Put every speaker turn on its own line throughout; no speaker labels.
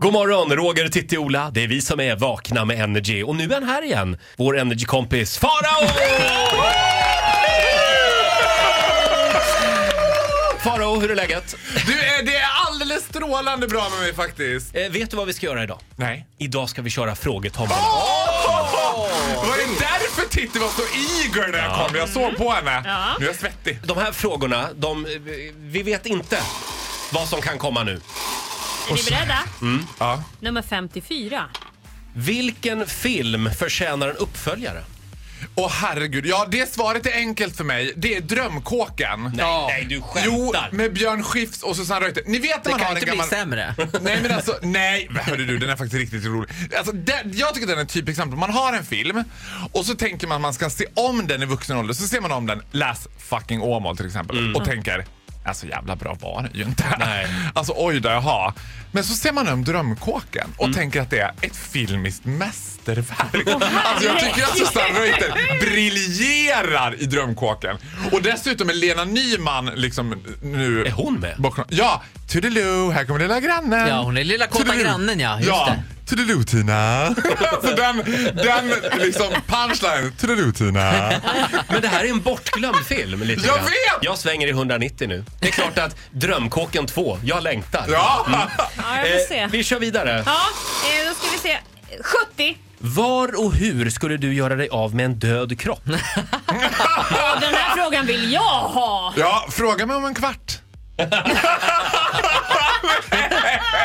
God morgon, Roger, Titti, Ola. Det är vi som är vakna med Energy. Och nu är han här igen, vår Energy-kompis Farao! Farao, hur är läget?
Du, eh, det är alldeles strålande bra med mig faktiskt.
Eh, vet du vad vi ska göra idag?
Nej.
Idag ska vi köra frågetombolan.
Var det därför Titti var så eager när jag kom? Jag såg på henne. Nu är jag svettig.
De här frågorna, de, eh, vi vet inte vad som kan komma nu.
Är ni beredda?
Ja.
Nummer 54.
Vilken film förtjänar en uppföljare?
Åh herregud, ja det svaret är enkelt för mig. Det är Drömkåken.
Nej, nej, du skämtar.
Jo, med Björn Skifs och Susanne Reuter. Ni vet när
Det
man
kan
har en
inte bli
gammal...
sämre.
Nej men alltså, nej. Hörru du, den är faktiskt riktigt rolig. Alltså, den, jag tycker den är ett typexempel. Man har en film och så tänker man att man ska se om den i vuxen ålder. Så ser man om den, läs fucking Åmål till exempel, och tänker Alltså jävla bra var det ju inte.
Mm. Nej.
Alltså oj då, jaha. Men så ser man om Drömkåken och
Mm.
tänker att det är ett filmiskt mästerverk. alltså jag tycker att Susanne Reuter briljerar i Drömkåken. Och dessutom är Lena Nyman liksom nu...
Är hon med?
Bakom, ja, Toodiloo, här kommer lilla grannen.
Ja, hon är lilla kåta
Toodiloo.
grannen, ja, just
ja.
det.
Toodiloo Tina. Så den, den liksom punchline, Toodiloo Tina.
Men det här är en bortglömd film. Lite
Jag
grann.
vet!
Jag svänger i 190 nu. Det är klart att Drömkåken 2, jag längtar.
Ja.
Mm.
Ja, jag får se.
Eh, vi kör vidare.
Ja, eh, då ska vi se. 70.
Var och hur skulle du göra dig av med en död kropp?
Ja, den här frågan vill jag ha!
ja, fråga mig om en kvart.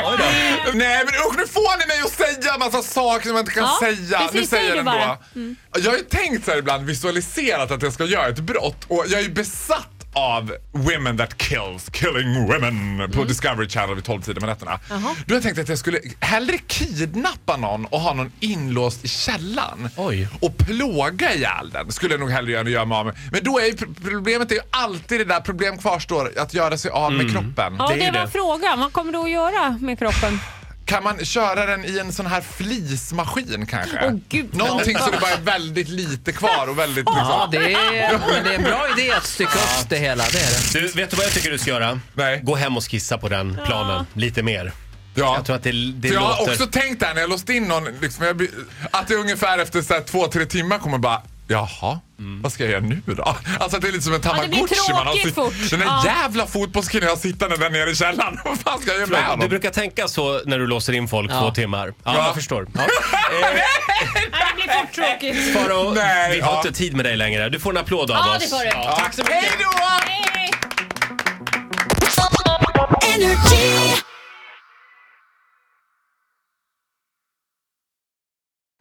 Oj då.
Nej men usch, nu får ni mig att säga massa saker som jag inte kan
Ja,
säga.
precis,
nu säger
säg
jag
det
den
bara. Mm.
då. Jag har ju tänkt så här ibland, visualiserat att jag ska göra ett brott och jag är ju besatt av Women That Kills, Killing Women
Mm.
på Discovery Channel vid 12-tiden på nätterna. Då har jag tänkt att jag skulle hellre kidnappa någon och ha någon inlåst i källaren
Oj.
och plåga ihjäl den. Skulle jag nog hellre göra än att göra mig av med. Men då är ju pr- problemet är ju alltid det där problem kvarstår, att göra sig av med kroppen.
Mm. Ja,
Det är
det,
ju
var
det.
frågan. Vad kommer du att göra med kroppen?
Kan man köra den i en sån här flismaskin kanske?
Åh, gud.
Någonting så det bara är väldigt lite kvar och väldigt
Ja,
liksom...
det är, men det är en bra idé att stycka upp det hela. Det är det.
Du, vet du vad jag tycker du ska göra?
Nej.
Gå hem och skissa på den planen lite mer.
Ja.
Jag tror att det, det
För jag har
låter...
också tänkt där när jag låst in någon, liksom, jag, blir- att det ungefär efter så här, två, tre timmar kommer bara Jaha, vad ska jag göra nu då? Alltså att det är lite som en
Mm. det blir
tamagotchi man har
tråkigt
sitt-
fort.
Den där
Ja.
jävla fotbollskillen jag har sittande där nere i källaren. Vad fan ska jag göra med
Du
honom?
brukar tänka så när du låser in folk
Ja.
två timmar. Ja,
Ja.
jag förstår. Ja.
Nej, det blir fort tråkigt.
Faro,
Nej,
vi har
ja.
inte tid med dig längre. Du får en applåd av
Ja,
oss.
det får du.
Ja, Tack så mycket.
Hej då!
Hej!